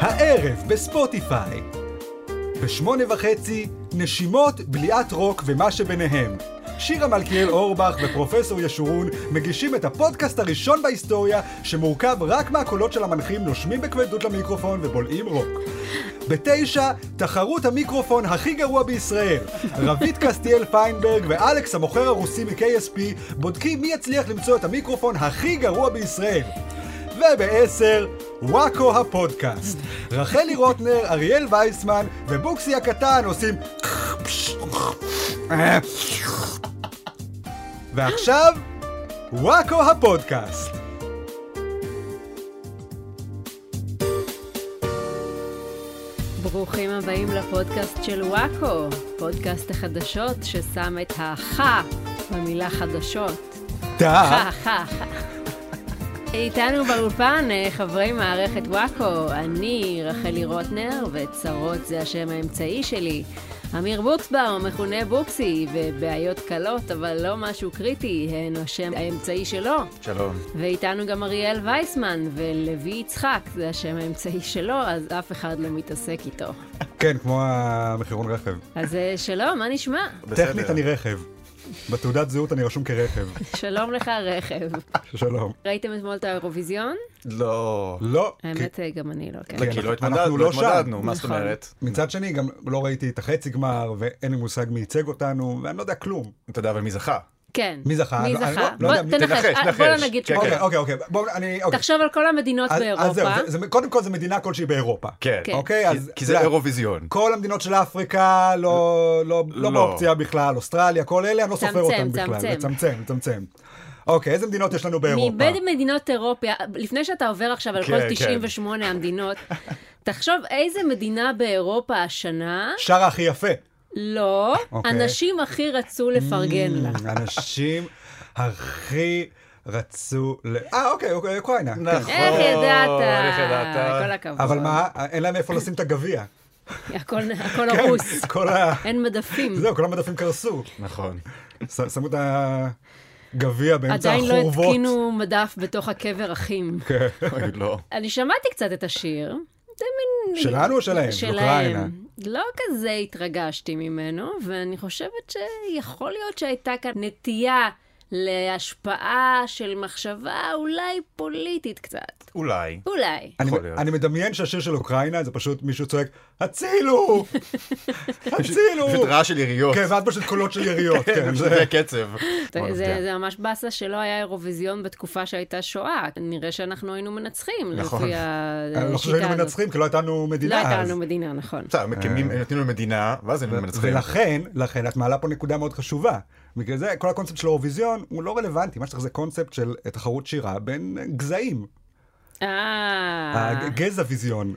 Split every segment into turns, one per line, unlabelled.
הערב בספוטיפיי. בשמונה וחצי, נשימות, בליעת רוק ומה שביניהם. שירה מלכיאל אורבך ופרופסור ישורון מגישים את הפודקאסט הראשון בהיסטוריה שמורכב רק מהקולות של המנחים נושמים בכבדות למיקרופון ובולעים רוק. בתשע, תחרות המיקרופון הכי גרוע בישראל. רבית קסטיאל פיינברג ואלכס המוכר הרוסי מ-KSP בודקים מי יצליח למצוא את המיקרופון הכי גרוע בישראל. ובעשר, וואקו הפודקאסט. רחלי רוטנר, אריאל וייסמן ובוקסי הקטן עושים... ועכשיו, וואקו הפודקאסט.
ברוכים הבאים לפודקאסט של וואקו, פודקאסט החדשות ששם את ה"ח" במילה חדשות.
טה,
חה, חה, חה. איתנו באולפן אה, חברי מערכת וואקו, אני רחלי רוטנר, וצרות זה השם האמצעי שלי. אמיר בוקסבאום, מכונה בוקסי, ובעיות קלות, אבל לא משהו קריטי, הן השם האמצעי שלו.
שלום.
ואיתנו גם אריאל וייסמן, ולוי יצחק, זה השם האמצעי שלו, אז אף אחד לא מתעסק איתו.
כן, כמו המחירון רכב.
אז אה, שלום, מה נשמע?
בסדר.
טכנית אני רכב. בתעודת זהות אני רשום כרכב.
שלום לך, רכב.
שלום.
ראיתם אתמול את האירוויזיון?
לא.
לא. כי-
האמת, אה, גם אני לא, כן.
כן,
כי לא
אנחנו
התמודדנו,
לא
לא
שם.
התמודדנו, מה זאת
נכון.
אומרת?
מצד שני, גם לא ראיתי את החצי גמר, ואין לי מושג מי ייצג אותנו, ואני לא יודע כלום.
אתה יודע, אבל מי זכה?
כן.
מי זכה?
מי
לא- אני
זכה?
לא- לא יודע,
בוא,
מי-
תנחש,
תנחש,
אה, בוא לא
תנחש.
נגיד
כן,
פה.
אוקיי,
כן.
אוקיי, אוקיי. בואו, אני... אוקיי.
תחשוב על כל המדינות
אז- אז זהו,
באירופה.
זה- זה- קודם כל זה מדינה כלשהי באירופה.
כן.
כן.
אוקיי,
כי-
אז...
כי
אתה
זה
יודע,
אירוויזיון.
כל המדינות של אפריקה לא, לא, לא
לא.
באופציה בכלל, אוסטרליה, כל אלה, אני לא סופר
צמצם,
אותן בכלל.
צמצם.
צמצם, צמצם. אוקיי, איזה מדינות יש לנו באירופה?
מבין מדינות אירופה, לפני שאתה עובר עכשיו על
כן,
כל
כן.
98 המדינות, תחשוב איזה מדינה באירופה השנה,
שרה הכי יפה.
לא,
אוקיי. Mm. Oh,
הנשים הכי רצו לפרגן לה.
אנשים הכי רצו ל... אה, אוקיי, אוקיי, אוקראינה. כן.
נכון.
איך ידעת?
איך ידעת?
כל הכבוד.
אבל מה, כן. אין להם איפה לשים את הגביע.
הכל- הכל הרוס.
כל ה...
לא, אין מדפים.
זהו, כל המדפים קרסו.
נכון.
ש- שמו את הגביע באמצע
עדיין לא
החורבות. כן.
התקינו מדף בתוך הקבר אחים.
אוי, לא.
אני שמעתי קצת את השיר. זה מין...
שלנו או כן, שלהם? של אה, אוקראינה.
לא כזה התרגשתי ממנו, ואני חושבת שיכול להיות שהייתה כאן נטייה להשפעה של מחשבה אולי פוליטית קצת.
אולי.
אולי.
אני,
יכול להיות.
אני מדמיין שהשיר של אוקראינה זה פשוט מישהו צועק, הצילו! הצילו!
פשוט רעש של יריות.
כן, ואז פשוט קולות של יריות. כן,
פשוט
זה...
קצב.
אה,
זה- זה, זה ממש באסה שלא היה אירוויזיון בתקופה שהייתה שואה. נראה שאנחנו היינו מנצחים,
נכון.
לפי
אני לא חושב
השיטה
שהיינו
הזאת.
מנצחים, כי לא הייתה לנו
לא
מדינה אז.
הייתה לנו מדינה, נכון.
בסדר, מקימים,
אה.
נותנים לנו מדינה, ואז הם מנצחים.
ולכן, לכן, את מעלה פה נקודה מאוד חשובה. בגלל זה, כל הקונספט של האירוויזיון הוא לא רלוונטי, מה שצריך זה קונספט של אה, תחרות שירה בין גזעים.
אה...
הגזע ויזיון.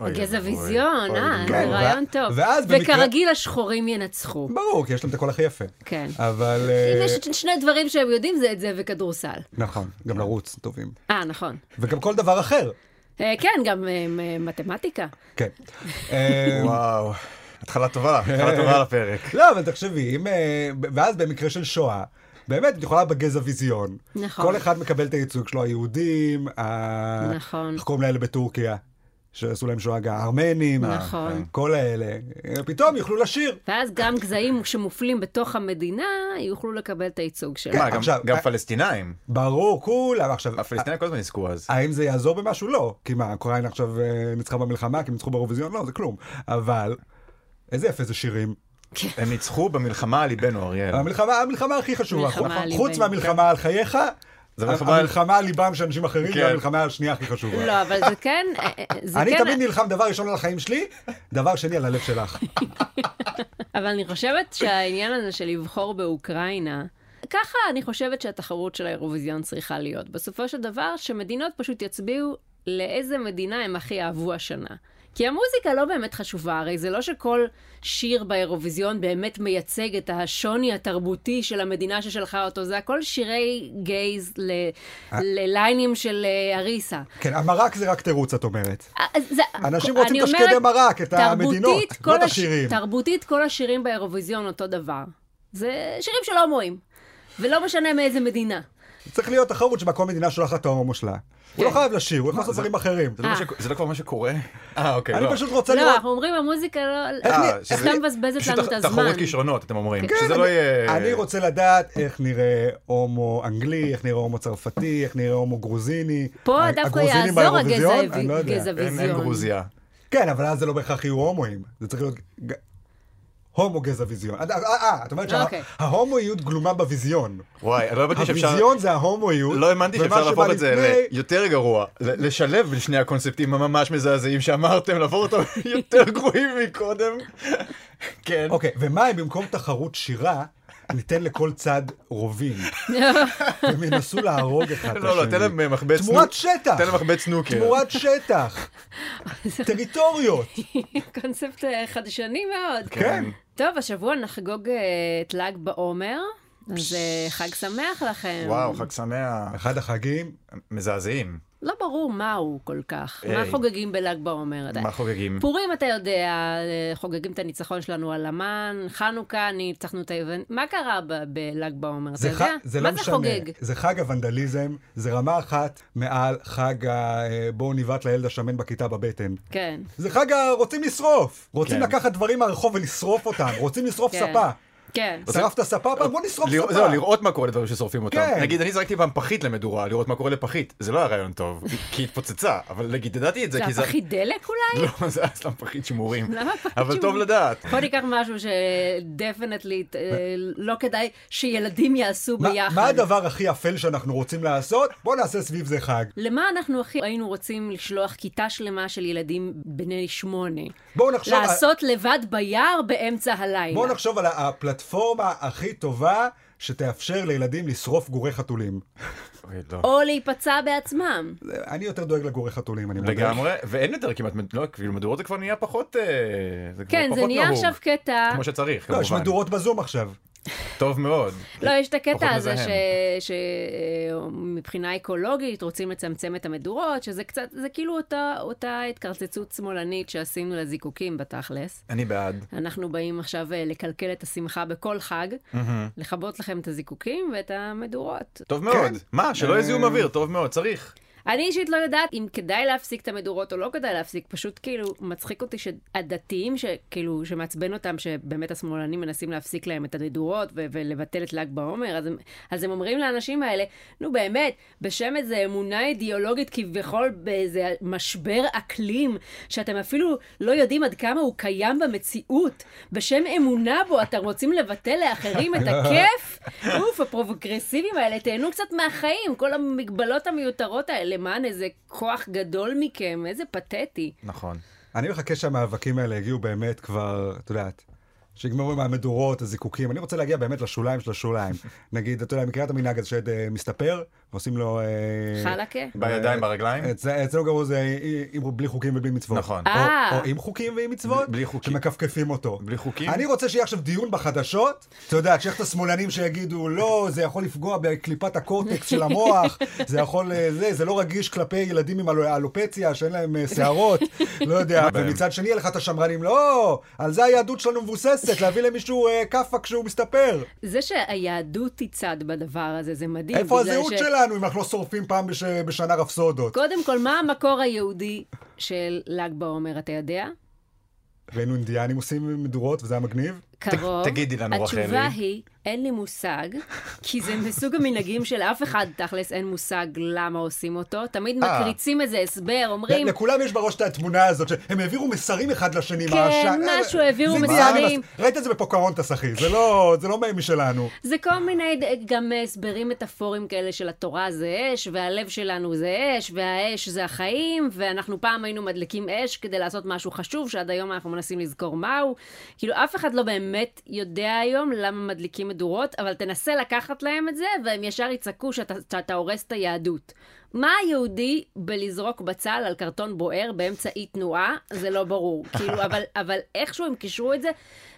אוי,
גזע
אוי,
ויזיון,
אוי,
אה,
אוי,
זה
כן, ו-
רעיון טוב.
ואז במקרה-
וכרגיל השחורים ינצחו.
ברור, כי יש להם את הקול הכי יפה.
כן.
אבל...
אם
אה,
יש ש- שני דברים שהם יודעים זה את זה וכדורסל.
נכון, גם לרוץ טובים.
אה, נכון.
וגם כל דבר אחר.
אה, כן, גם אה, אה, מתמטיקה.
כן. אה,
וואו. התחלה טובה, התחלה טובה על הפרק.
לא, אבל תחשבי, אם... אה, ב- ואז במקרה של שואה, באמת, את יכולה בגזע ויזיון.
נכון.
כל אחד מקבל את הייצוג שלו, היהודים, ה-
נכון.
איך קוראים לאלה בטורקיה? שעשו להם שואה גם הארמנים, ה-
נכון.
כל האלה. אה, פתאום יוכלו לשיר.
ואז גם גזעים שמופלים בתוך המדינה יוכלו לקבל את הייצוג שלהם.
מה, גם-
עכשיו,
גם
אה-
פלסטינאים.
ברור, כולם. עכשיו,
הפלסטינאים כל הזמן יזכו אז.
האם זה יעזור במשהו? לא. כי מה, אוקראינה עכשיו אה, ניצחה במלחמה, כי הם ניצחו באירוויזיון? לא, זה כלום. אבל, איזה יפה זה שירים. אה-
הם ניצחו במלחמה על ליבנו, אריאל.
המלחמה, המלחמה הכי חשובה.
מלחמה
חוץ-
על
חוץ
ליבנו. כן.
מהמלחמה על חייך,
זה מלחמה על-
המלחמה על ליבם של אנשים אחרים,
כן.
זה המלחמה השנייה הכי חשובה.
לא, אבל זה כן... אה, אה, זה
אני
כן-
תמיד נלחם דבר ראשון על החיים שלי, דבר שני על הלב שלך.
אבל אני חושבת שהעניין הזה של לבחור באוקראינה, ככה אני חושבת שהתחרות של האירוויזיון צריכה להיות. בסופו של דבר, שמדינות פשוט יצביעו לאיזה מדינה הם הכי אהבו השנה. כי המוזיקה לא באמת חשובה, הרי זה לא שכל שיר באירוויזיון באמת מייצג את השוני התרבותי של המדינה ששלחה אותו, זה הכל שירי גייז ל...
אה.
לליינים של אה, אריסה.
כן, המרק זה רק תירוץ, את אומרת.
אז זה-
אנשים
אני
רוצים לתשקד
אומרת,
במרק את המדינות,
תרבותית כל
לא את
הש-
השירים.
תרבותית כל השירים באירוויזיון אותו דבר. זה שירים של הומואים, ולא משנה מאיזה מדינה.
צריך להיות תחרות שבה כל מדינה שולחת את ההומו שלה. הוא
כן.
לא חייב לשיר, הוא יכול לעשות
זה-
דברים אחרים.
זה לא מה ש- זה לא כבר מה שקורה? אה, אוקיי, לא.
אני פשוט רוצה
לא,
לראות...
אנחנו אומרים המוזיקה לא...
אה,
שזה-
סתם מבזבזת
פשוט
לנו את
תח-
הזמן.
תחרות כישרונות, אתם אומרים.
כן,
שזה
אני-
לא יהיה...
אני רוצה לדעת איך נראה הומו אנגלי, איך נראה הומו צרפתי, איך נראה הומו גרוזיני.
פה
ה-
דווקא
הגרוזינים
יעזור הגזע
באירוויזיון? אני לא יודע.
אין אין
ויזיון.
גרוזיה.
כן, אבל אז זה לא בהכרח יהיו הומואים. זה צריך להיות ג- הומו גזע ויזיון. אה, אה, אה, את אומרת
אוקיי.
שההומואיות גלומה בוויזיון.
וואי, לא הבנתי שאפשר...
הוויזיון זה ההומואיות.
לא האמנתי
ומה
שאפשר
שבא
להפוך את זה
לפני-
ליותר גרוע, ל- לשלב בין שני הקונספטים הממש מזעזעים שאמרתם, להפוך אותם יותר גרועים מקודם. כן.
אוקיי, ומה אם במקום תחרות שירה, ניתן לכל צד רובים. הם ינסו להרוג אחד את השני.
לא, לא, תן להם אה, מחבץ
תמורת
נו-
שטח.
תן להם מחבץ נוקר.
תמורת שטח. טריטוריות.
קונספט אה, חדשני מאוד.
כן.
טוב, השבוע נחגוג אה, את ל"ג בעומר, אז אה, חג שמח לכם.
וואו, חג שמח.
אחד החגים,
מזעזעים.
לא ברור מהו כל כך. מה
היי.
חוגגים בל"ג בעומר עדיין?
מה חוגגים?
פורים אתה יודע, אה, חוגגים את הניצחון שלנו על המן, חנוכה ניצחנו את היוון, מה קרה ב- בל"ג בעומר, אתה
זה, ח...
יודע?
זה
מה
לא
זה
משנה,
חוגג?
זה חג הוונדליזם, זה רמה אחת מעל חג ה... אה, בואו נבעט לילד השמן בכיתה בבטן.
כן.
זה חג ה... רוצים לשרוף. רוצים
כן.
לקחת דברים מהרחוב ולשרוף אותם. רוצים לשרוף
כן.
ספה.
כן.
שרפת ספה פעם? בוא נשרוף
לראות-
ספה.
אה, זהו, לראות מה קורה לדברים ששורפים אותם.
כן.
נגיד, אני זרקתי פעם פחית למדורה, לראות מה קורה לפחית. זה לא היה רעיון טוב, כי היא התפוצצה, אבל נגיד, ידעתי את זה,
זה
כי זה...
הפחית דלק אולי?
לא, זה היה סתם פחית שמורים.
למה פחית
אבל טוב
שמורים?
לדעת.
בוא ניקח משהו שדפנטלי לא כדאי שילדים יעשו
מה-
ביחד.
מה הדבר הכי אפל שאנחנו רוצים לעשות? בוא נעשה סביב זה חג.
למה אנחנו הכי היינו רוצים לשלוח כיתה שלמה של ילדים בני שמונה?
בואו נחשוב... על-
לעשות לבד ביער באמצע הלילה.
בואו נחשוב על ה- הפלטפורמה הכי טובה שתאפשר לילדים לשרוף גורי חתולים.
אוי, לא.
או להיפצע בעצמם.
זה- אני יותר דואג לגורי חתולים, אני מודה.
לגמרי, ואין יותר כמעט, מד- לא, כאילו מדורות זה כבר נהיה פחות, אה, זה כבר
כן, זה
פחות
נהיה
נהוג.
עכשיו קטע.
כמו שצריך,
לא, יש
כמובן.
מדורות בזום עכשיו.
טוב מאוד.
לא, יש את
פחות
הקטע הזה
מזהם.
שמבחינה אקולוגית רוצים לצמצם את המדורות, שזה קצת, זה כאילו אותה, אותה התקרצצות שמאלנית שעשינו לזיקוקים בתכלס.
אני בעד.
אנחנו באים עכשיו אה, לקלקל את השמחה בכל חג, לכבות לכם את הזיקוקים ואת המדורות.
טוב מאוד.
כן.
מה, שלא יהיה
אה,
זיהום אוויר, טוב מאוד, צריך.
אני אישית לא יודעת אם כדאי להפסיק את המדורות או לא כדאי להפסיק, פשוט כאילו מצחיק אותי שהדתיים, שכאילו, שמעצבן אותם, שבאמת השמאלנים מנסים להפסיק להם את המדורות ו- ולבטל את ל"ג בעומר, אז הם, אז הם אומרים לאנשים האלה, נו באמת, בשם איזה אמונה אידיאולוגית כביכול באיזה משבר אקלים, שאתם אפילו לא יודעים עד כמה הוא קיים במציאות, בשם אמונה בו אתם רוצים לבטל לאחרים את הכיף? אוף, הפרוגרסיבים האלה, תהנו קצת מהחיים, כל המגבלות המיותרות האלה, למען איזה כוח גדול מכם, איזה פתטי.
נכון.
אני מחכה שהמאבקים האלה יגיעו באמת כבר, את יודעת, שיגמרו עם המדורות, הזיקוקים. אני רוצה להגיע באמת לשוליים של השוליים. נגיד, אתה יודע, מכירה את המנהג הזה שעד אה, מסתפר, ועושים לו... אה,
חלקה?
בידיים, ברגליים?
אצל- אצלנו גרו זה אה, עם- בלי חוקים ובלי מצוות.
כן. נכון.
או-
אה.
או עם חוקים ועם מצוות,
בלי חוקים.
שמכפכפים אותו.
בלי חוקים?
אני רוצה שיהיה עכשיו דיון בחדשות, אתה יודע, שיש את השמאלנים שיגידו, לא, זה יכול לפגוע בקליפת הקורטקס של המוח, זה יכול, אה, זה, זה לא רגיש כלפי ילדים עם אלו- אלופציה, שאין להם אה, שערות, לא יודע,
בהם.
ומצד שני יהיה לך את השמרנים, לא, על זה היהדות שלנו מבוססת, להביא למישהו אה, כאפה כשהוא מסתפר.
זה שהיהדות היא צד בדבר הזה, זה מדהים.
איפה
בגלל
הזהות
ש-
שלנו אם אנחנו לא שורפים פעם בש- בשנה רפסודות?
קודם כל, מה המקור היהודי של ל"ג בעומר, אתה יודע?
ראינו אינדיאנים עושים מדורות, וזה היה מגניב.
קרוב.
תגידי לנו, רחלי.
התשובה היא, אין לי מושג, כי זה מסוג המנהגים שלאף אחד תכלס אין מושג למה עושים אותו. תמיד
אה.
מקריצים איזה הסבר, אומרים,
לכולם יש בראש את התמונה הזאת, שהם העבירו מסרים אחד לשני.
כן,
מהעשן.
משהו, העבירו
זה
מסרים.
אינדיאנים, אז- ראית את זה בפוקהונטס, אחי, זה לא זה לא משלנו.
זה כל מיני אה, גם אה, הסברים מטאפוריים כאלה של התורה זה אש, והלב שלנו זה אש, והאש זה החיים, ואנחנו פעם היינו מדליקים אש כדי לעשות משהו חשוב, שעד היום אנחנו מנסים לזכור מהו. כאילו, אף אחד לא באמת יודע היום למה מדליקים מדורות, אבל תנסה לקחת להם את זה, והם ישר יצעקו שאתה, שאתה הורס את היהדות. מה היהודי בלזרוק בצל על קרטון בוער באמצע אי תנועה? זה לא ברור. כאילו, אבל, אבל איכשהו הם קישרו את זה.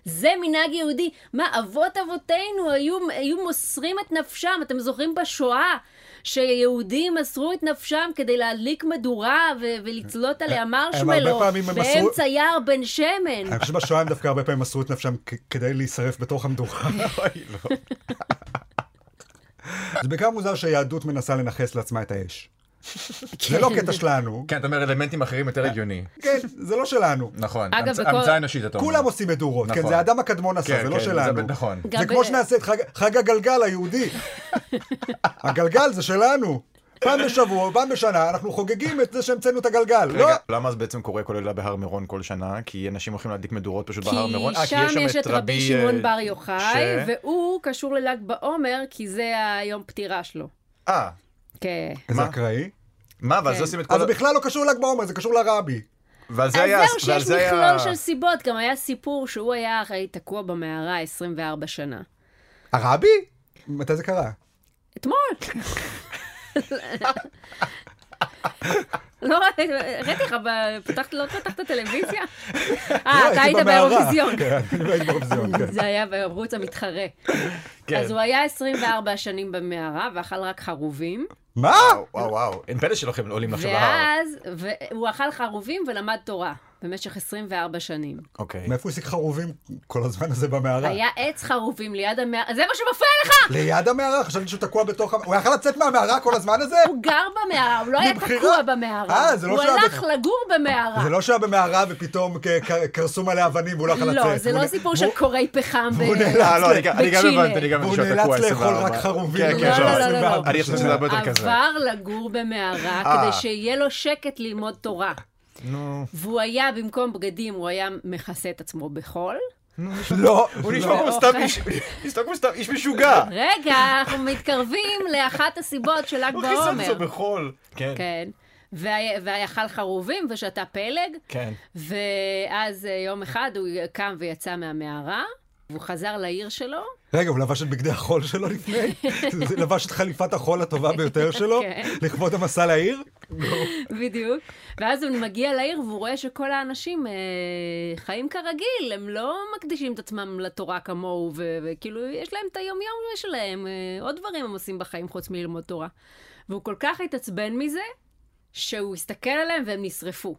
זה מנהג יהודי. מה, אבות אבותינו היו, היו מוסרים את נפשם. אתם זוכרים בשואה שיהודים מסרו את נפשם כדי להדליק מדורה ו- ולצלות עליה
הרבה
מרשמלו
פעמים הם מסרו- אה,
באמצע יער בן שמן.
אני חושב שבשואה הם דווקא הרבה
לא.
פעמים מסרו את נפשם כ- כדי להישרף בתוך המדורה.
אוי, לא.
זה בעיקר מוזר שהיהדות מנסה לנכס לעצמה את האש. זה לא קטע שלנו.
כן, אתה אומר אלמנטים אחרים יותר הגיוני.
כן, זה לא שלנו.
נכון.
אגב,
המצ-
בכל-
המצאה אנושית, אתה אומר.
כולם עושים מדורות, כן,
נכון.
זה האדם הקדמון עשה,
כן,
זה לא
כן, זה
שלנו.
ב- נכון.
גם
זה כמו
ב-
שנעשה את חג- חג הגלגל היהודי. הגלגל זה שלנו. פעם בשבוע, פעם בשנה, אנחנו חוגגים את זה שהמצאנו את הגלגל. לא,
רגע, למה זה בעצם קורה כל לילה בהר מירון כל שנה? כי אנשים הולכים להדליק מדורות פשוט בהר מירון? אה,
כי שם יש את רבי שמעון
אה,
בר יוחאי,
ש-
והוא קשור לל"ג בעומר, כי זה היום פטירה שלו.
אה,
כן.
זה
מה?
אקראי.
מה, ואז
כן.
עושים את כל...
אז זה בכלל לא קשור ל"ג בעומר, זה קשור לרבי.
ועל זה
אז
היה...
זהו, שיש
ועל זה היה-
מכלול של סיבות. גם היה סיפור שהוא היה הרי תקוע במערה 24 שנה.
הרבי? מתי זה קרה?
אתמול. לא, הראיתי לך, ב- פתחת, לא פתחת טלוויזיה? אה,
לא,
אתה היית
הייתי במערה.
באירוויזיון.
כן, אני לא הייתי באירוויזיון, כן.
זה היה בערוץ המתחרה.
כן.
אז הוא היה 24 שנים במערה ואכל רק חרובים,
מה?
וואו, וואו, וואו, אין פלא שלכם עולים עכשיו להר.
ואז הוא אכל חרובים ולמד תורה במשך 24 שנים.
אוקיי.
מאיפה הוא השיג חרובים כל הזמן הזה במערה?
היה עץ חרובים ליד המערה, זה מה שמפריע לך!
ליד המערה? חשבתי שהוא תקוע בתוך... המ- הוא יכל לצאת מהמערה כל הזמן הזה?
הוא גר במערה, הוא לא היה
מבחירה.
תקוע במערה.
אה, זה לא
הוא
שהיה
הלך
בטח.
לגור במערה.
זה לא שהיה במערה ופתאום כ- כ- קרסום עליה אבנים והוא לא יכול לצאת.
לא, זה
והוא
לא
נ-
סיפור של
והוא-
קורי פחם. ב-
והוא נאלץ-
אה, לא, אני גם- אני גם
בצ'ילה.
הבנתי, אני גם
והוא
הבנתי שהוא תקוע
נאלץ לאכול
24.
רק חרובים.
כן,
לא,
כן,
לא,
לא,
לא, לא, לא.
אני חושב שזה הרבה יותר כזה. אה.
עבר לגור במערה כדי שיהיה לו שקט ללמוד תורה. לא.
נו,
והוא היה, במקום בגדים, הוא היה מכסה את עצמו בחול.
לא,
הוא
לא.
נשמע כמו סתם איש- נשמע כמו סתם איש משוגע.
רגע, אנחנו מתקרבים לאחת הסיבות של ל"ג
הוא כיסה את זה
בעומר.
בחול. כן,
לא כן. וה- ואכל חרובים ושתה פלג,
כן.
ואז אה, יום אחד הוא קם ויצא מהמערה, והוא חזר לעיר שלו.
רגע, הוא לבש את בגדי החול שלו לפני? זה- לבש את חליפת החול הטובה ביותר שלו?
כן.
לכבוד המסע לעיר?
בדיוק. ואז הוא מגיע לעיר והוא רואה שכל האנשים אה, חיים כרגיל, הם לא מקדישים את עצמם לתורה כמוהו, ו- וכאילו יש להם את היום-יום שלהם, אה, עוד דברים הם עושים בחיים חוץ מללמוד תורה. והוא כל כך התעצבן מזה, שהוא הסתכל עליהם והם נשרפו.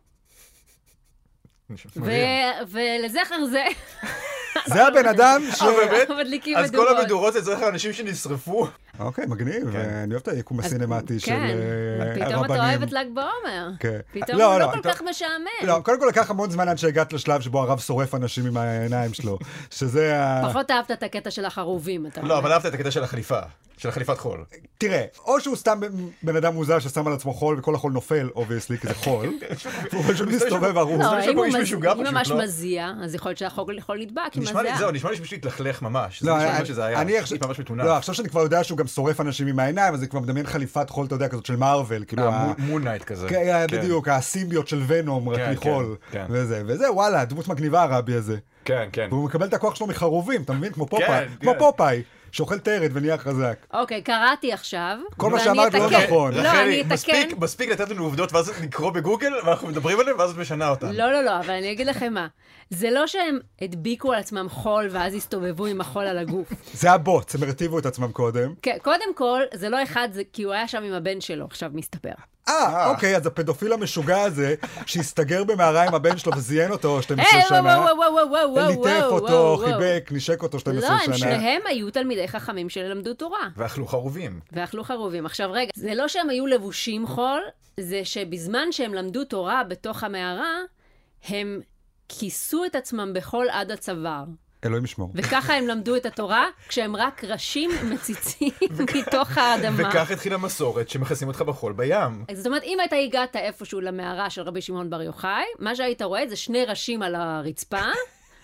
ו- ולזכר זה,
זה הבן אדם ש...
באמת?
אנחנו מדליקים
אז
מדורות.
כל המדורות זה צריך אנשים שנשרפו.
אוקיי, מגניב.
כן.
אני אוהב את היקום
אז-
הסינמטי של
כן,
אה, הרבנים.
פתאום אתה אוהב את ל"ג בעומר.
כן.
פתאום
לא,
הוא לא
לא,
כל
פתאום-
כך משעמם.
לא, קודם כל לקח המון זמן עד שהגעת לשלב שבו הרב שורף אנשים עם העיניים שלו. שזה ה...
פחות אהבת את הקטע של החרובים, אתה
לא,
אומר.
אבל אהבת את הקטע של החליפה. של חליפת חול.
תראה, או שהוא סתם בן אדם מוזר ששם על עצמו חול וכל החול נופל, אובייסלי, כי זה חול. והוא פשוט מסתובב ערום.
לא,
זה
אם
שפה
הוא
איש
מז-
משוגע
אם
פשוט,
ממש
לא?
מזיע, אז יכול להיות שהחוק יכול נדבק עם
נשמע לי,
הזיעה.
זהו, נשמע לי שפשוט התלכלך ממש. זה
לא,
נשמע
אני-
לי שזה היה
אני עכשיו,
טיפ ממש מתונה.
לא, עכשיו שאני כבר יודע שהוא גם שורף אנשים עם העיניים, אז אני כבר מדמיין חליפת חול, אתה יודע, כזאת של מארוול,
אה,
כאילו, ה-
לא.
מונייט כזה.
כן, אה, בדיוק, הסימביות של ונום, רק
כן,
מחול,
כן, כן.
וזה, וזה, וואלה, דמות מגניבה הרבי הזה.
כן, כן.
והוא מקבל את הכוח שלו מחרובים, אתה מבין? כמו פופאי,
כן,
כמו
כן.
פופאי, שאוכל טרד ונהיה חזק.
אוקיי, קראתי עכשיו,
כל מה
ואני
שאמרת לא
אתקן.
נכון.
לא, אני
רחלי,
אתקן.
מספיק- מספיק לתת לנו עובדות ואז לקרוא בגוגל, ואנחנו מדברים עליהן ואז את משנה אותן.
לא, לא, לא, אבל אני אגיד לכם מה. זה לא שהם הדביקו על עצמם חול ואז הסתובבו עם החול על הגוף.
זה הבוץ, הם הרטיבו את עצמם קודם.
כן, קודם כל, זה לא אחד, זה כי הוא היה שם עם הבן שלו, עכשיו מסתבר.
אה, אוקיי, אז הפדופיל המשוגע הזה, שהסתגר במערה עם הבן שלו וזיין אותו 12
היי, וואו,
שנה,
וואו, וואו, וואו, וואו, וואו,
ליטף
וואו,
אותו,
וואו.
חיבק, נשק אותו
לא,
12
הם
שנה.
שניהם היו תלמידי חכמים שלמדו תורה.
ואכלו חרובים.
ואכלו לא חרובים. עכשיו רגע, זה לא שהם היו לבושים חול, זה שבזמן שהם למדו תורה בתוך המערה, הם כיסו את עצמם בחול עד הצוואר.
אלוהים ישמור.
וככה הם למדו את התורה, כשהם רק ראשים מציצים מתוך האדמה.
וכך התחילה מסורת שמכסים אותך בחול בים.
אז זאת אומרת, אם אתה הגעת איפשהו למערה של רבי שמעון בר יוחאי, מה שהיית רואה זה שני ראשים על הרצפה.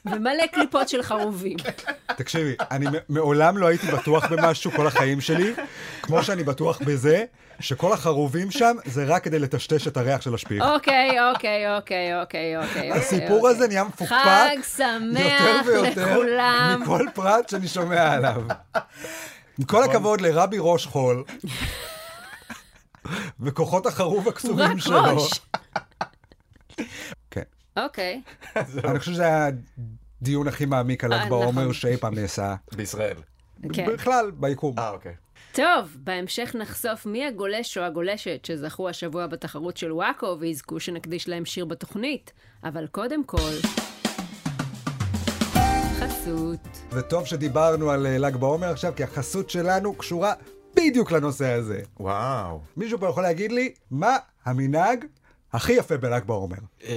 ומלא קליפות של חרובים.
כן. תקשיבי, אני מ- מעולם לא הייתי בטוח במשהו כל החיים שלי, כמו שאני בטוח בזה, שכל החרובים שם זה רק כדי לטשטש את הריח של השפיך.
אוקיי, אוקיי, אוקיי, אוקיי, אוקיי.
הסיפור הזה נהיה
חג
מפוקפק יותר
שמח
ויותר
לכולם.
מכל פרט שאני שומע עליו. עם כל הכבוד לרבי ראש חול, וכוחות החרוב
הוא רק
הקסומים שלו.
ראש.
כן.
אוקיי.
לא-
אני חושב שזה היה הדיון הכי מעמיק על
אה,
ל"ג בעומר
נכון.
שאי פעם נעשה.
בישראל.
כן.
בכלל, ביקום.
אה, אוקיי.
טוב, בהמשך נחשוף מי הגולש או הגולשת שזכו השבוע בתחרות של וואקו ויזכו שנקדיש להם שיר בתוכנית, אבל קודם כל... חסות.
וטוב שדיברנו על אה, ל"ג בעומר עכשיו, כי החסות שלנו קשורה בדיוק לנושא הזה.
וואו.
מישהו פה יכול להגיד לי מה המנהג הכי יפה בל"ג בעומר?
אה,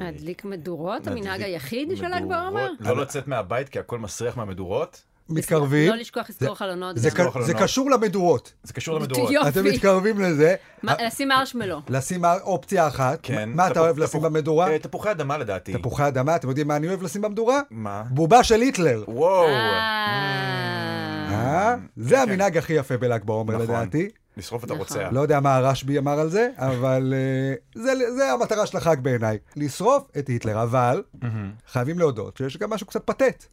להדליק מדורות,
מדליק
המנהג היחיד של ל"ג
מדורות.
בעומר?
לא לצאת מהבית כי הכל מסריח מהמדורות?
מתקרבים,
לא לשכוח לסגור חלונות.
זה
גם.
ק-
לא
זה
חלונות.
קשור למדורות.
זה קשור למדורות.
יופי.
אתם מתקרבים לזה,
מה, לשים מרשמלו.
לשים אופציה אחת.
כן.
מה אתה
תפוח-
אוהב לשים
תפוח-
במדורה?
אה, תפוחי אדמה לדעתי.
תפוחי אדמה, אתם יודעים מה אני אוהב לשים במדורה?
מה?
בובה של היטלר.
וואו.
אה,
אה? זה המנהג הכי יפה בל"ג בעומר
כן. נכון.
לדעתי.
לשרוף את
נכון.
הרוצח.
לא יודע מה הרשב"י אמר על זה, אבל אה, זה- זה המטרה של החג בעיניי. לשרוף את היטלר, אבל חייבים להודות שיש גם משהו קצת פתט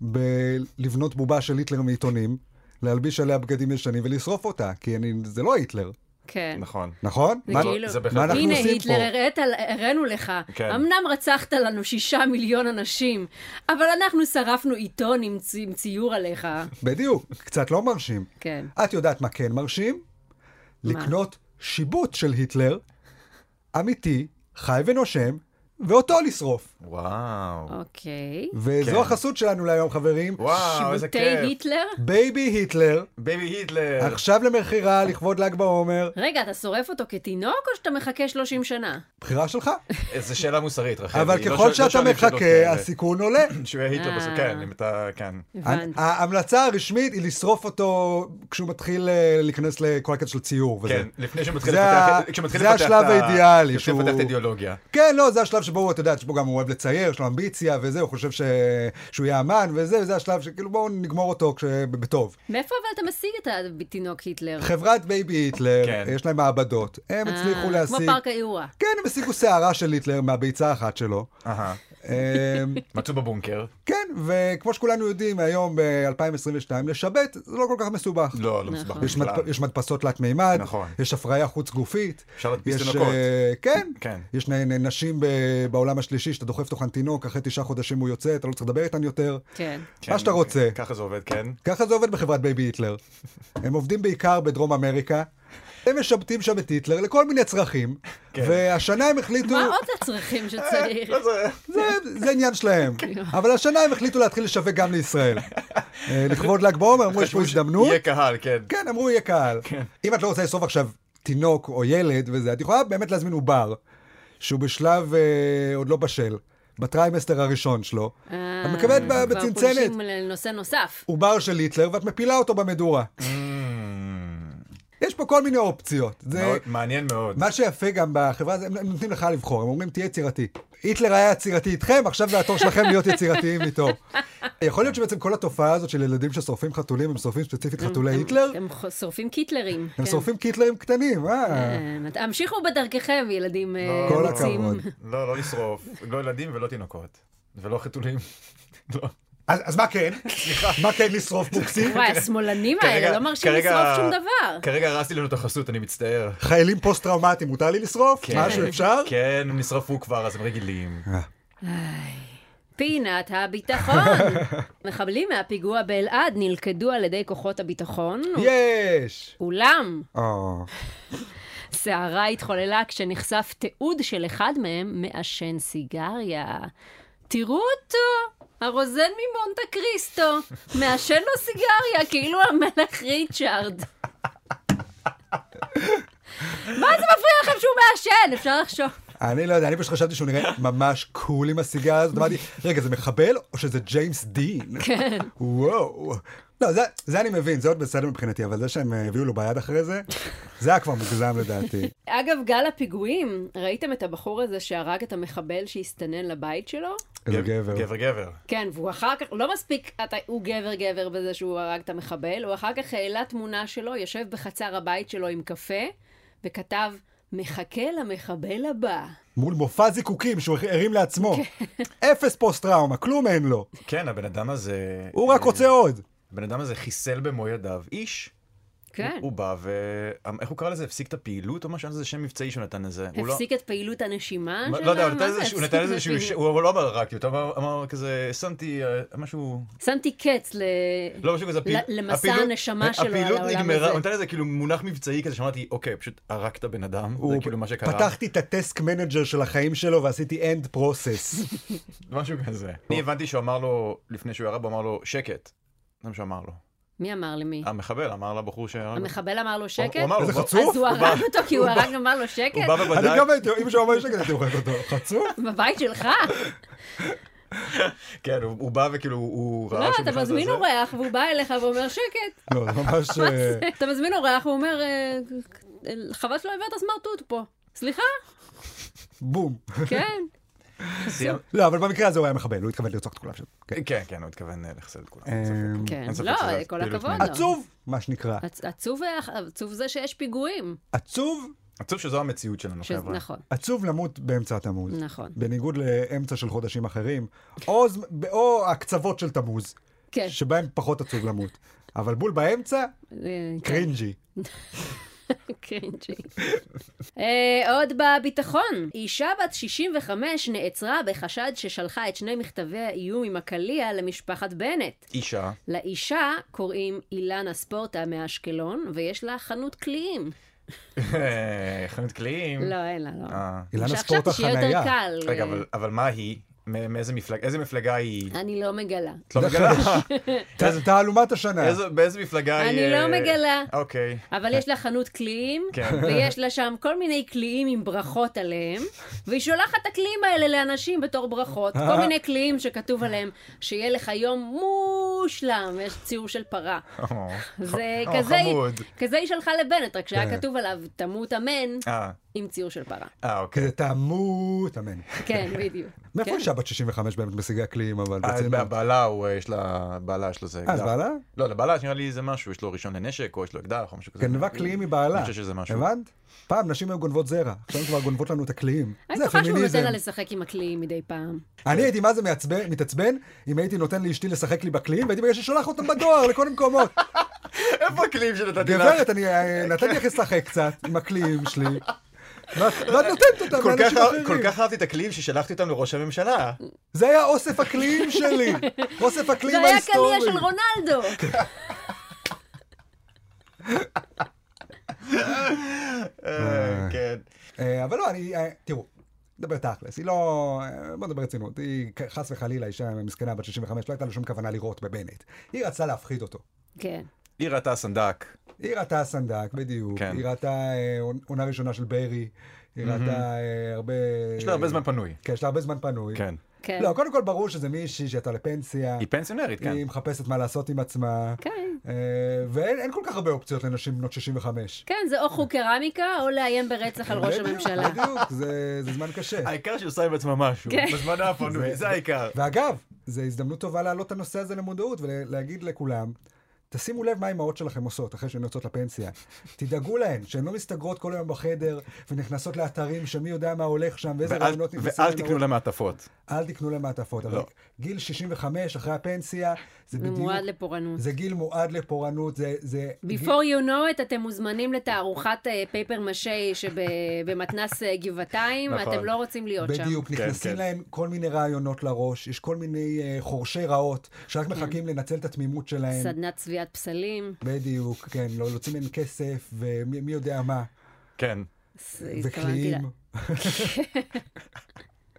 בלבנות בובה של היטלר מעיתונים, להלביש עליה בגדים ישנים ולשרוף אותה, כי אני- זה לא היטלר,
כן.
נכון.
נכון?
זה
מה-
כאילו,
זה בהחלט-
מה אנחנו
הנה
עושים
היטלר,
פה?
הראת, הראינו לך,
כן.
אמנם רצחת לנו שישה מיליון אנשים, אבל אנחנו שרפנו עיתון עם, צי, עם ציור עליך.
בדיוק, קצת לא מרשים.
כן.
את יודעת מה כן מרשים? לקנות שיבוט של היטלר, אמיתי, חי ונושם, ואותו לשרוף.
וואו.
אוקיי.
וזו
כן.
החסות שלנו להיום, חברים.
וואו, איזה כן.
שיבוטי
כיף.
היטלר?
בייבי היטלר,
בייבי היטלר.
עכשיו למכירה, לכבוד ל"ג בעומר.
רגע, אתה שורף אותו כתינוק או שאתה מחכה 30 שנה?
בחירה שלך.
זו שאלה מוסרית, רחל.
אבל
היא לא
ככל
שואל- לא
שאתה
שואלים שאלות
מחכה,
כאלה.
הסיכון עולה.
שהוא יהיה היטלר בסוף,
אה.
כן, אם אתה, כן.
הבנתי.
ההמלצה הרשמית היא לשרוף אותו כשהוא מתחיל אה, להיכנס לכל הקטע של ציור וזה.
כן, לפני שהוא מתחיל
זה
לפתח,
ה-
כשהוא מתחיל
זה
לפתח את
השלב
ה-
האידיאלי,
כשהוא
שהוא-
מפתח את האידיאולוגיה.
כן, לא, זה השלב שבו הוא, אתה יודע, שבו גם הוא אוהב לצייר, יש לו אמביציה וזה, הוא חושב ש... שהוא יהיה אמן וזה, וזה השלב שכאילו בואו נגמור אותו כש... בטוב.
מאיפה אבל אתה משיג את התינוק היטלר?
חברת בייבי היטלר,
כן.
יש להם מעבדות, הם הצליחו
אה, כמו
להשיג...
פארק היורה.
כן, הם השיגו שערה של היטלר מהביצה האחת שלו.
אהה.
אמ,
מצאו בבונקר.
כן, וכמו שכולנו יודעים, היום ב-2022, לשבת זה לא כל כך מסובך.
לא, לא
נכון.
מסובך.
יש,
בכלל.
מדפ... יש מדפסות תלת מימד,
נכון.
יש הפריה חוץ גופית,
אפשר להדפיס
יש,
תינוקות.
אה, כן,
כן.
יש נ- נ- נשים ב... בעולם השלישי שאתה דוחף תוכן תינוק, אחרי תשעה חודשים הוא יוצא, אתה לא צריך לדבר איתן יותר,
כן.
כן,
מה שאתה רוצה.
ככה זה עובד, כן.
ככה זה עובד בחברת בייבי היטלר. הם עובדים בעיקר בדרום אמריקה, הם משבטים שם את היטלר לכל מיני צרכים,
כן.
והשנה הם החליטו...
מה עוד הצרכים שצריך?
לא
אה,
זה-
זה, זה עניין שלהם,
כן.
אבל השנה הם החליטו להתחיל לשווק גם לישראל. אה, לכבוד ל"ג בעומר, אמרו יש פה
חשבו ש-
הזדמנות.
יהיה קהל, כן.
כן, אמרו יהיה קהל. אם את לא רוצה לשרוף עכשיו תינוק או ילד וזה, את יכולה באמת להזמין עובר, שהוא בשלב אה, עוד לא בשל, בטריימסטר הראשון שלו.
אה,
את מקבלת ב-
כבר
בצנצנת.
פולשים לנושא נוסף.
עובר של היטלר, ואת מפילה אותו במדורה. יש פה כל מיני אופציות. זה...
Mm. מאוד- מעניין מאוד.
מה שיפה גם בחברה, הזאת, הם הם נותנים לך לבחור, הם אומרים תהיה יצירתי. היטלר היה יצירתי איתכם, עכשיו זה התור שלכם להיות יצירתיים איתו. יכול להיות שבעצם כל התופעה הזאת של ילדים ששורפים חתולים, הם שורפים ספציפית חתולי היטלר,
הם ח- שורפים קיטלרים.
הם
אה, כן.
שורפים קיטלרים קטנים, אה.
אה, המשיכו בדרככם, ילדים אה,
כל
רוצים.
הכבוד.
לא, לא לשרוף. לא ילדים ולא תינוקות. ולא חתולים. לא.
אז, אז מה כן? סליחה. מה כן לשרוף בוקסים?
וואי, השמאלנים האלה
כרגע-
לא מרשים
כרגע-
לשרוף שום דבר.
כרגע הרסתי לנו את החסות, אני מצטער.
חיילים פוסט-טראומטיים, מותר לי לשרוף?
כן.
משהו אפשר?
כן, הם נשרפו כבר, אז הם רגילים.
פינת הביטחון. מחבלים מהפיגוע באלעד נלכדו על ידי כוחות הביטחון,
יש! אה,
אולם
או,
סערה התחוללה כשנחשף תיעוד של אחד מהם מעשן סיגריה. תראו אותו, הרוזן ממונטה קריסטו, מעשן לו סיגריה, כאילו המלך ריצ'ארד. מה זה מפריע לכם שהוא מעשן? אפשר לחשוב.
אני לא יודע, אני פשוט חשבתי שהוא נראה ממש קול עם הסיגריה הזאת, אמרתי, רגע, זה מחבל או שזה ג'יימס דין?
כן.
וואו. לא, זה, זה אני מבין, זה עוד בסדר מבחינתי, אבל זה שהם אה, הביאו לו ביד אחרי זה, זה היה כבר מוגזם לדעתי.
אגב, גל הפיגועים, ראיתם את הבחור הזה שהרג את המחבל שהסתנן לבית שלו?
איזה גבר.
גבר גבר.
כן, והוא אחר כך, לא מספיק, אתה, הוא גבר גבר בזה שהוא הרג את המחבל, הוא אחר כך העלה תמונה שלו, יושב בחצר הבית שלו עם קפה, וכתב, מחכה למחבל הבא.
מול מופע זיקוקים שהוא הרים לעצמו.
כן.
אפס פוסט-טראומה, כלום אין לו.
כן, הבן אדם הזה...
הוא רק רוצה עוד.
הבן אדם הזה חיסל במו ידיו איש.
כן.
הוא בא ו... אמ, איך הוא קרא לזה? הפסיק את הפעילות או משהו? זה שם מבצעי שהוא נתן לזה. הוא לא-
הפסיק את פעילות הנשימה
מה-
שלה?
לא יודע, הוא נתן
מה
לזה,
זה
שהוא
הפסיק
נתן
את
לזה שהוא,
הפעילות?
שהוא- הוא לא אמר הרגתי אותו, אמר- אמר כזה, שמתי אה, משהו,
שמתי קץ ל...
לא משהו כזה, הפעיל-
ל- למסע הנשמה שלו על
הפעילות
העולם
נגמרה,
הזה.
הוא נתן לזה כאילו מונח מבצעי כזה, שאמרתי, אוקיי, פשוט הרגת בן אדם, זה
הוא
כאילו מה שקרה,
פתחתי את הטסק מנג'ר של החיים שלו ועשיתי end process.
משהו כזה. אני הבנתי שהוא אמר לו, לפני שהוא ירד, הוא אמר לו, שקט, זה מה שהוא אמר לו.
מי אמר למי?
המחבל אה, אמר לבחור שהרג אותו.
המחבל אמר לו שקט?
הוא אמר לו,
איזה
בוא-
חצוף?
אז הוא
הוא בא-
הרג אותו כי הוא הרג אמר לו שקט?
הוא בא ובדק,
אני גם הייתי, אם שהוא אומר שקט, הייתי אוכל אותו. חצוף?
בבית שלך?
כן, הוא הוא בא וכאילו, הוא ראה
לא,
שהוא
אתה
נכנס
מזמין
לזה.
אורח והוא בא אליך ואומר שקט.
לא, זה ממש...
מה
אה,
כן.
זה? אתה מזמין אורח והוא אומר, "אה, חבל שלא הבאת סמרטוט פה. סליחה?
בום.
כן.
סיים-
לא, אבל במקרה הזה הוא היה מחבל, הוא התכוון לרצוח את כולם שם. כן.
כן, כן, הוא התכוון אה, לחסל את כולם.
אה, כן.
אין ספק.
כן.
אין ספק
לא,
שזה
כל
פעילות
הכבוד
מין.
לו.
עצוב, מה שנקרא.
עצ- עצוב היה- עצוב זה שיש פיגועים.
עצוב,
עצוב שזו המציאות שלנו,
ש-
חבר'ה.
נכון,
עצוב למות באמצע תמוז.
נכון.
בניגוד לאמצע של חודשים אחרים, או, ז- או הקצוות של תמוז,
כן.
שבהם פחות עצוב למות. אבל בול באמצע,
אה, כן.
קרינג'י.
קרינג'י. אה, עוד בביטחון. אישה בת 65 נעצרה בחשד ששלחה את שני מכתבי האיום עם הקליע למשפחת בנט.
אישה,
לאישה קוראים אילנה ספורטה מאשקלון, ויש לה חנות קליעים.
אה, חנות קליעים.
לא, אין לה, לא.
אה.
אילנה
שחשבתי
ספורט
שיהיה יותר
החנייה.
קל.
רגע, אבל- אבל מה היא? מא- מאיזה מפלגה, איזה מפלגה היא?
אה, אני לא מגלה.
את לא מגלה?
ת- תעלומת השנה.
איזו- באיזה מפלגה היא?
אני לא
אה,
מגלה.
אוקיי.
אבל יש לה חנות קליעים,
כן.
ויש לה שם כל מיני קליעים עם ברכות עליהם, והיא שולחת את הקליעים האלה לאנשים בתור ברכות. כל מיני קליעים שכתוב עליהם, שיהיה לך יום מושלם, יש ציור של פרה.
או,
זה
או,
אה, כזה, היא-
אה, חמוד.
כזה היא שלחה לבנט, רק
אה, כן.
שהיה כתוב עליו, תמות אמן,
אה,
עם ציור של פרה.
אה, אוקיי.
כזה תעמות, אמן.
כן, בדיוק.
מאיפה
כן.
אישה בת 65 באמת משיגה קליעים, אבל
אה,
ברצינות?
בעלה הוא, אה, יש לה, בעלה יש לו זה
לא. אה, אז בעלה?
לא, לבעלה נראה לי זה משהו, יש לו רישיון לנשק, או יש לו אקדח, או משהו כזה.
גנבה קליעים כן, מבעלה.
אני חושב שזה משהו.
הבנת? פעם נשים היו גונבות זרע, עכשיו הן כבר גונבות לנו את הקליעים.
אני
זה
בטוחה שהוא
הפמיניזם.
נותן לה לשחק עם הקליעים מדי פעם.
אני הייתי מה זה מעצבן- מתעצבן אם הייתי נותן לאשתי לשחק לי בקליעים, והייתי בגלל ששולח אותם בדואר לכל המקומות.
איפה הקליעים שנתתי לך?
גברת, אני אה, נתתי לך לשחק קצת עם הקליעים שלי. ואת ואת נותנת אותם
כל כך-
לאנשים
כל
אחרים.
כך אהבתי את הקליעים ששלחתי אותם לראש הממשלה. אה,
זה היה אוסף הקליעים שלי. אוסף
זה
הקליעים
היה
ההיסטורי.
קליע של רונלדו!
אה, כן.
אה, אבל לא, אני... אה, תראו, נדבר תכלס, היא לא... אה, בוא נדבר רצינות. היא כ- חס וחלילה אישה מסכנה בת 65, לא הייתה לה שום כוונה לירות בבנט. היא רצתה להפחיד אותו.
כן.
היא ראתה סנדק.
היא ראתה סנדק, בדיוק.
כן.
היא ראתה אה, עונה ראשונה של ברי. היא ראתה אה, הרבה...
יש לה הרבה זמן פנוי.
כן, יש לה הרבה זמן פנוי.
כן.
כן.
לא, קודם כל ברור שזה מישהי שיצאה לפנסיה.
היא פנסיונרית, כן.
היא מחפשת מה לעשות עם עצמה.
כן.
אה, ואין אין כל כך הרבה אופציות לנשים בנות 65.
כן, זה או חוג קרמיקה, או לאיים ברצח על ראש
בדיוק,
הממשלה.
בדיוק, זה זה זמן קשה.
העיקר שהיא עושה עם עצמה משהו.
כן.
בזמן הפנוי, זה העיקר.
ואגב, זו הזדמנות טובה להעלות את הנושא הזה למודעות ולהגיד לכולם, תשימו לב מה האימהות שלכם עושות אחרי שהן יוצאות לפנסיה. תדאגו להן, שהן לא מסתגרות כל היום בחדר ונכנסות לאתרים שמי יודע מה הולך שם ואיזה
ואל-
רעיונות נכנסים.
ואל
להם
תקנו
לראש.
לה מעטפות.
אל תקנו להם מעטפות. אבל
לא.
גיל 65 אחרי הפנסיה, זה
זה
בדיוק...
מועד לפורענות.
זה גיל מועד לפורענות, זה... זה גיל-
Before you know it, אתם מוזמנים לתערוכת אה, פייפר משי שבמתנס אה, גבעתיים,
נכון.
אתם לא רוצים להיות שם.
בדיוק,
כן,
נכנסים
כן.
להם כל מיני רעיונות לראש, יש כל מיני אה, חורשי רעות,
כן.
שרק מחכים לנצל את התמימות שלהם.
סדנת צביעת פסלים.
בדיוק, כן, לא- להוציא מהם כסף, ומי מי יודע מה,
כן.
ס- התכוונתי לה.
וקליעים.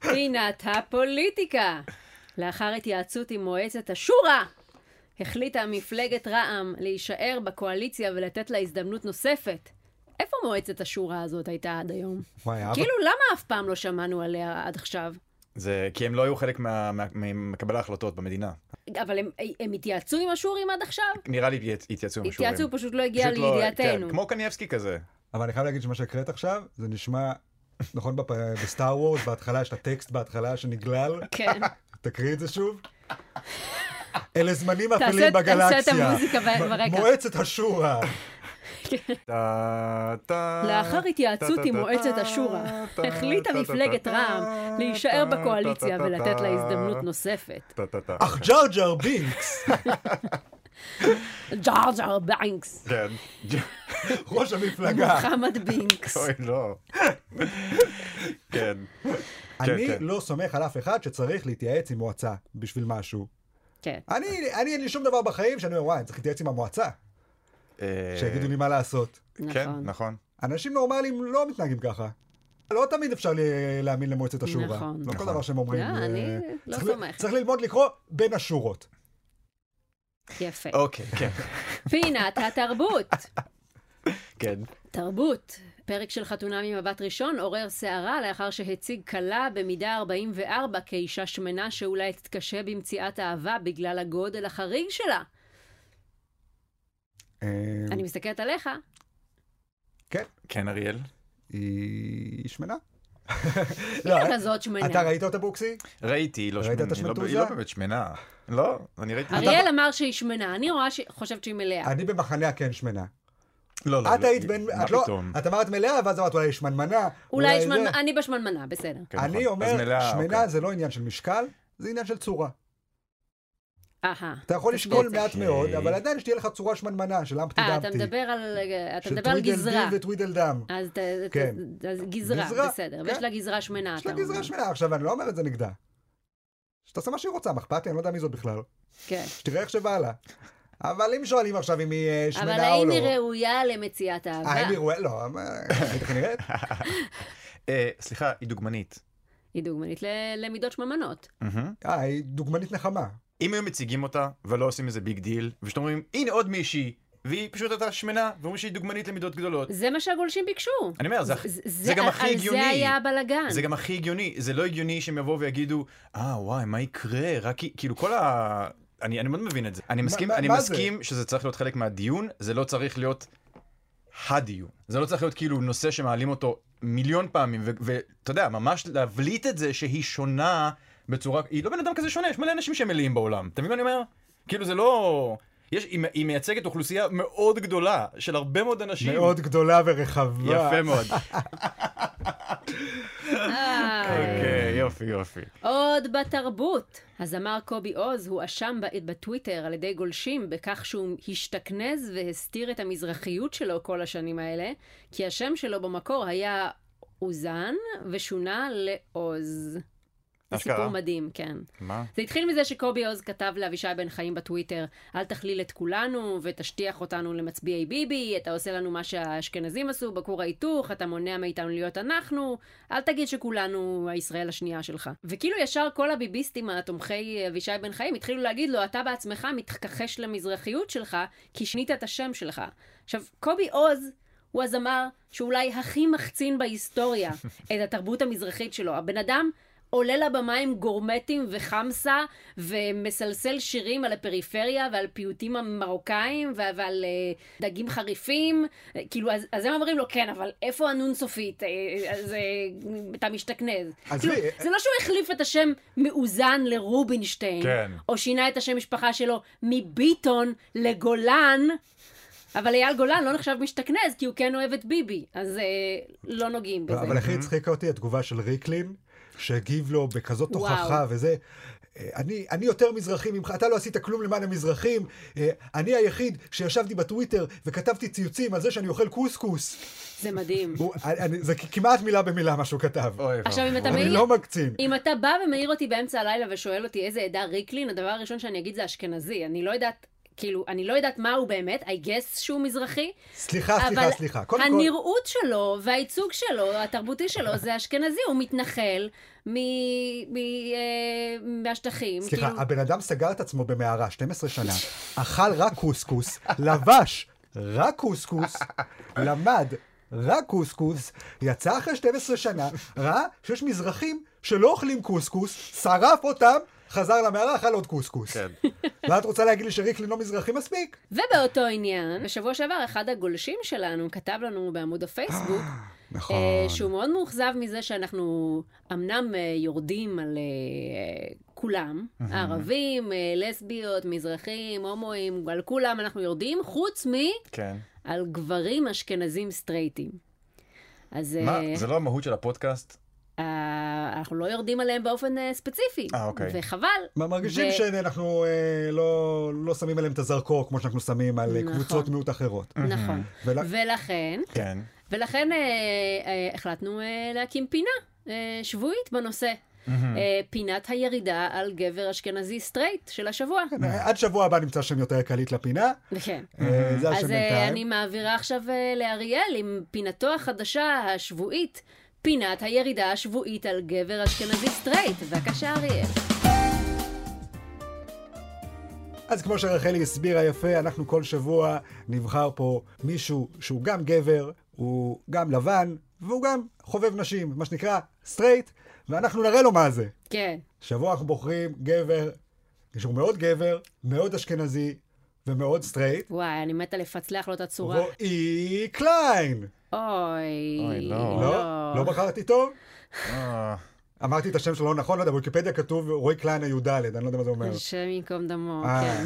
פינת הפוליטיקה. לאחר התייעצות עם מועצת השורא, החליטה מפלגת רע"מ להישאר בקואליציה ולתת לה הזדמנות נוספת. איפה מועצת השורא הזאת הייתה עד היום?
וואי, אבא,
כאילו, למה אף פעם לא שמענו עליה עד עכשיו?
זה כי הם לא היו חלק מה- מה- ממקבל ההחלטות במדינה.
אבל הם, הם התייעצו עם השוראים עד עכשיו?
נראה לי התייצ- התייצאו עם השיעורים.
התייעצו, פשוט לא הגיע
פשוט לא-
לידיעתנו.
כן, כמו קניאבסקי כזה.
אבל אני חייב להגיד שמה שהקראת עכשיו, זה נשמע, נכון, בפ- בסטאר וורס, בהתחלה יש את הטקסט בהתחלה שנגלל,
כן,
תקריא את זה שוב. אלה זמנים
תעשה-
אפלים
תעשה את
בגלקסיה.
המוזיקה ב-
מ-
ברקע.
מועצת השורא.
טה, טה,
לאחר התייעצות עם
טה,
מועצת
טה,
השורא,
טה,
החליטה
טה,
מפלגת
טה,
רע"מ
טה,
להישאר
טה,
בקואליציה
טה, טה,
ולתת לה
טה.
הזדמנות נוספת.
טה, טה, טה.
אך ג'ר ג'ר בינקס,
ג'אר ג'אר בינקס,
כן.
ראש המפלגה.
מוחמד בינקס.
אוי, לא. כן.
אני
כן.
לא סומך על אף אחד שצריך להתייעץ עם מועצה בשביל משהו.
כן.
אני, אני אין לי שום דבר בחיים שאני אומר, וואי, אני צריך להתייעץ עם המועצה,
אה,
שיגידו לי מה לעשות.
כן,
נכון.
נכון.
אנשים נורמליים לא מתנהגים ככה. לא תמיד אפשר ל- להאמין למועצת השורא.
נכון.
לא כל
נכון.
דבר שהם אומרים.
לא, אני
אה,
לא
צריך ל-
סומכת.
צריך ללמוד לקרוא בין השורות.
יפה.
אוקיי, כן,
פינת התרבות.
כן.
תרבות. פרק של חתונה ממבט ראשון עורר סערה לאחר שהציג כלה במידה 44 כאישה שמנה שאולי תתקשה במציאת אהבה בגלל הגודל החריג שלה.
אה,
אני מסתכלת עליך.
לא,
כן, אריאל?
היא שמנה. לא,
היא כזאת שמנה.
אתה ראית אותה בוקסי?
כן.
ראיתי, היא לא
ראית את
שמנה, היא לא-
השמנתוזה?
היא לא באמת שמנה. לא, אני ראיתי...
אריאל אמר שהיא שמנה, אני רואה ש... חושבת שהיא מלאה.
אני במחנה הכן שמנה.
לא, לא.
את
לא,
היית
היא-
בין,
מה
את לא,
פתאום?
את אמרת מלאה, ואז אמרת אולי שמנמנה.
אולי
זה.
שמנ... אני בשמנמנה, בסדר.
כן, נכון.
אני
אז
אומר,
מלאה,
שמנה
אוקיי.
זה לא עניין של משקל, זה עניין של צורה.
אהה. אה,
אתה יכול
אוקיי.
לשקול
בעצם.
מעט מאוד, אבל עדיין שתהיה לך צורה שמנמנה של אמפטי
אה, אתה
דמפטי.
מדבר על... אתה
של
מדבר על גזרה.
טווידלדי וטווידלדם.
אז ת- ת-
כן.
אז גזרה,
גזרה,
בסדר.
כן.
ויש לה גזרה שמנה,
יש
אתה
לה
אומר.
גזרה שמנה. עכשיו, אני לא אומר את זה נגדה. שתעשה מה שהיא רוצה, מה אכפת לי? אני לא יודע מי זאת בכלל.
כן.
שתראה איך שבא לה. אבל אם שואלים עכשיו אם היא אה,
אבל
שמנה או
האם
לא.
היא ראויה למציאת אהבה?
האם היא ראויה? לא, אבל- איך היא נראית?
אה, סליחה, היא דוגמנית.
היא דוגמנית ל- למידות שממנות.
מהמם.
אה, היא דוגמנית נחמה.
אם היו מציגים אותה ולא עושים איזה ביג דיל, ופשוט אומרים, הנה עוד מישהי, והיא פשוט הייתה שמנה, ואומרים שהיא דוגמנית למידות גדולות.
זה מה שהגולשים ביקשו.
אני אומר, זה הכי-
זה-
זה גם הכי
על זה
הגיוני.
היה הבלאגן.
זה גם הכי הגיוני, זה לא הגיוני שהם יבואו ויגידו, אה וואי, מה יקרה? רק כי-" כאילו כל ה... אני, אני מאוד מבין את זה. אני מסכים,
מה-
אני
מה זה?
מסכים שזה צריך להיות חלק מהדיון, זה לא צריך להיות הדיון. זה לא צריך להיות כאילו נושא שמעלים אותו מיליון פעמים, ו- ואתה יודע, ממש להבליט את זה שהיא שונה בצורה... היא לא בן אדם כזה שונה, יש מלא אנשים שהם מלאים בעולם. אתה מבין מה אני אומר? כאילו זה לא... יש, היא, היא מייצגת אוכלוסייה מאוד גדולה של הרבה מאוד אנשים.
מאוד גדולה ורחבה.
יפה מאוד.
אה,
אוקיי, יופי, יופי.
עוד בתרבות. הזמר קובי עוז הואשם ב- בטוויטר על ידי גולשים בכך שהוא השתכנז והסתיר את המזרחיות שלו כל השנים האלה, כי השם שלו במקור היה אוזן ושונה לעוז. זה
אשכרה?
סיפור מדהים, כן.
מה?
זה התחיל מזה שקובי עוז כתב לאבישי בן חיים בטוויטר, אל תכליל את כולנו ותשטיח אותנו למצביעי ביבי, אתה עושה לנו מה שהאשכנזים עשו בכור ההיתוך, אתה מונע מאיתנו להיות אנחנו, אל תגיד שכולנו הישראל השנייה שלך. וכאילו ישר כל הביביסטים התומכי אבישי בן חיים התחילו להגיד לו, אתה בעצמך מתכחש למזרחיות שלך, כי שינית את השם שלך. עכשיו, קובי עוז... הוא הזמר שאולי הכי מחצין בהיסטוריה את התרבות המזרחית שלו. הבן אדם עולה לבמה עם גורמטים וחמסה, ומסלסל שירים על הפריפריה ועל פיוטים המרוקאים ו- ועל אה, דגים חריפים. אה, כאילו, אז, אז הם אומרים לו, כן, אבל איפה הנון סופית? אה, אה, אז אה, אתה משתכנז.
אז
כאילו,
לי-
זה לא שהוא החליף את השם מאוזן לרובינשטיין,
כן.
או שינה את השם משפחה שלו מביטון לגולן. אבל אייל גולן לא נחשב משתכנז, כי הוא כן אוהב את ביבי, אז אה, לא נוגעים בזה.
אבל הכי הצחיקה אותי התגובה של ריקלין, שהגיב לו בכזאת תוכחה וזה. אה, אני, אני יותר מזרחי ממך, אתה לא עשית כלום למען המזרחים. אה, אני היחיד שישבתי בטוויטר וכתבתי ציוצים על זה שאני אוכל קוסקוס.
זה מדהים.
הוא, אני, אני- זה כ- כמעט מילה במילה מה שהוא כתב.
אוי,
עכשיו, אם אתה
אני
מעיר...
לא מקצין.
אם אתה בא ומעיר אותי באמצע הלילה ושואל אותי איזה עדה ריקלין, הדבר הראשון שאני אגיד זה אשכנזי. אני לא יודעת, כאילו, אני לא יודעת מה הוא באמת, I guess שהוא מזרחי,
סליחה,
אבל
סליחה, סליחה. קודם כל,
הנראות שלו והייצוג שלו, התרבותי שלו, זה אשכנזי, הוא מתנחל מ- מ- אה, מהשטחים.
סליחה,
כאילו-
הבן אדם סגר את עצמו במערה 12 שנה, אכל רק קוסקוס, לבש רק קוסקוס, למד רק קוסקוס, יצא אחרי 12 שנה, ראה שיש מזרחים שלא אוכלים קוסקוס, שרף אותם, חזר למערה, אכל עוד קוסקוס.
כן.
ואת רוצה להגיד לי שריקלין לא מזרחי מספיק?
ובאותו עניין, בשבוע שעבר אחד הגולשים שלנו כתב לנו בעמוד הפייסבוק,
נכון.
אה, שהוא מאוד מאוכזב מזה שאנחנו אמנם אה, יורדים על אה, כולם, ערבים, אה, לסביות, מזרחים, הומואים, על כולם אנחנו יורדים, חוץ מ...
כן.
על גברים אשכנזים סטרייטים. אז
מה?
אה,
זה לא המהות של הפודקאסט?
אה, אנחנו לא יורדים עליהם באופן אה, ספציפי,
אה, אוקיי.
וחבל.
מה, מרגישים
ו-
שאנחנו אה, לא, לא שמים עליהם את הזרקור כמו שאנחנו שמים על אה,
נכון.
קבוצות מיעוט אחרות.
נכון.
ול-
ולכן,
כן.
ולכן אה, אה, החלטנו אה, להקים פינה אה, שבועית בנושא. אה, פינת הירידה על גבר אשכנזי סטרייט של השבוע.
עד שבוע הבא נמצא שם יותר קליט לפינה,
כן.
אה, זה השם
אז אה,
בינתיים.
אני מעבירה עכשיו אה, לאריאל עם פינתו החדשה השבועית, פינת הירידה השבועית על גבר אשכנזי סטרייט. בבקשה, אריאל.
אז כמו שרחלי הסבירה יפה, אנחנו כל שבוע נבחר פה מישהו שהוא גם גבר, הוא גם לבן, והוא גם חובב נשים, מה שנקרא סטרייט, ואנחנו נראה לו מה זה.
כן.
שבוע אנחנו בוחרים גבר, שהוא מאוד גבר, מאוד אשכנזי ומאוד סטרייט,
וואי, אני מתה לפצלח לו את הצורה.
רועי קליין.
אוי.
אוי, לא.
לא? לא בחרתי טוב?
אה,
אמרתי את השם שלו לא נכון, לא יודע, בוויקיפדיה כתוב רועי קליין הי"ד, אני לא יודע מה זה אומר.
השם ייקום דמו,
אה.
כן.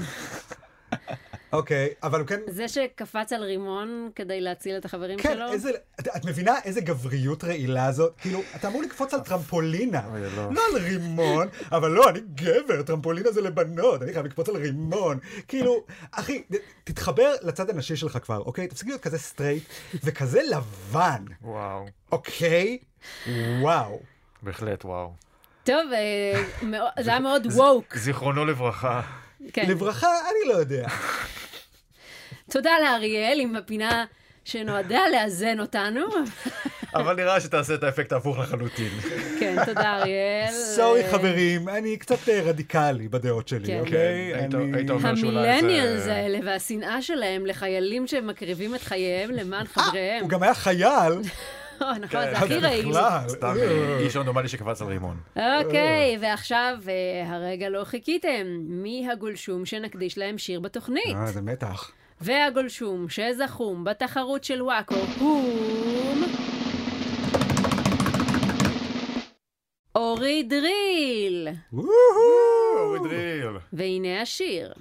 אוקיי, אבל הוא כן...
זה שקפץ על רימון כדי להציל את החברים
כן,
שלו?
איזה... את- את מבינה איזה גבריות רעילה זאת? כאילו, אתה אמור לקפוץ על טרמפולינה,
אוי, לא.
לא על רימון, אבל לא, אני גבר, טרמפולינה זה לבנות, אני חייב לקפוץ על רימון. כאילו, אחי, ת- תתחבר לצד הנשי שלך כבר, אוקיי? תפסיק להיות כזה סטרייט וכזה לבן,
וואו,
אוקיי? וואו.
בהחלט וואו.
טוב, אה, מאוד- זה היה מאוד ווק.
זיכרונו לברכה.
כן.
לברכה, אני לא יודע.
תודה לאריאל עם הפינה שנועדה לאזן אותנו.
אבל נראה שתעשה את האפקט ההפוך לחלוטין.
כן, תודה אריאל.
סורי
אה,
חברים, אני קצת אה, רדיקלי בדעות
כן.
שלי,
כן,
אוקיי?
היית-
אני-
היית אומר שאולי זה-
אה, המילניאלס האלה והשנאה שלהם לחיילים שמקריבים את חייהם למען חבריהם.
אה, הוא גם היה חייל,
או, נכון, זה
כן,
הכי רעיל.
בכלל.
סתם, אה, איש רנדומלי שקפץ על רימון.
אוקיי, ועכשיו, אה, הרגע לא חיכיתם. מי הגולשום שנקדיש להם שיר בתוכנית?
אה, זה מתח.
והגולשום שזכום בתחרות של וואקו הוא... אורי דריל!
אה, אורי דריל.
והנה השיר.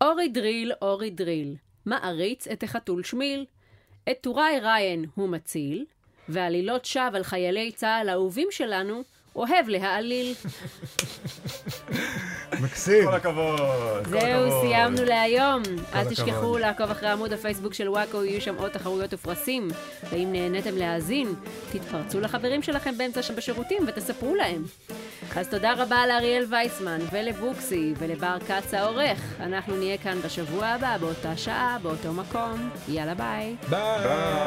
אורי דריל, אורי דריל, מעריץ את החתול שמיל. את טוראי ריין הוא מציל, ועלילות שווא על חיילי צה"ל האהובים שלנו, אוהב להעליל.
מקסים.
כל הכבוד. כל
זהו,
הכבוד.
סיימנו להיום. אל
הכבוד.
תשכחו לעקוב אחרי עמוד הפייסבוק של וואקו, יהיו שם עוד תחרויות ופרסים. ואם נהניתם להאזין, תתפרצו לחברים שלכם באמצע שם בשירותים ותספרו להם. אז תודה רבה לאריאל וייסמן, ולבוקסי, ולבר כץ העורך. אנחנו נהיה כאן בשבוע הבא, באותה שעה, באותו מקום. יאללה ביי.
ביי.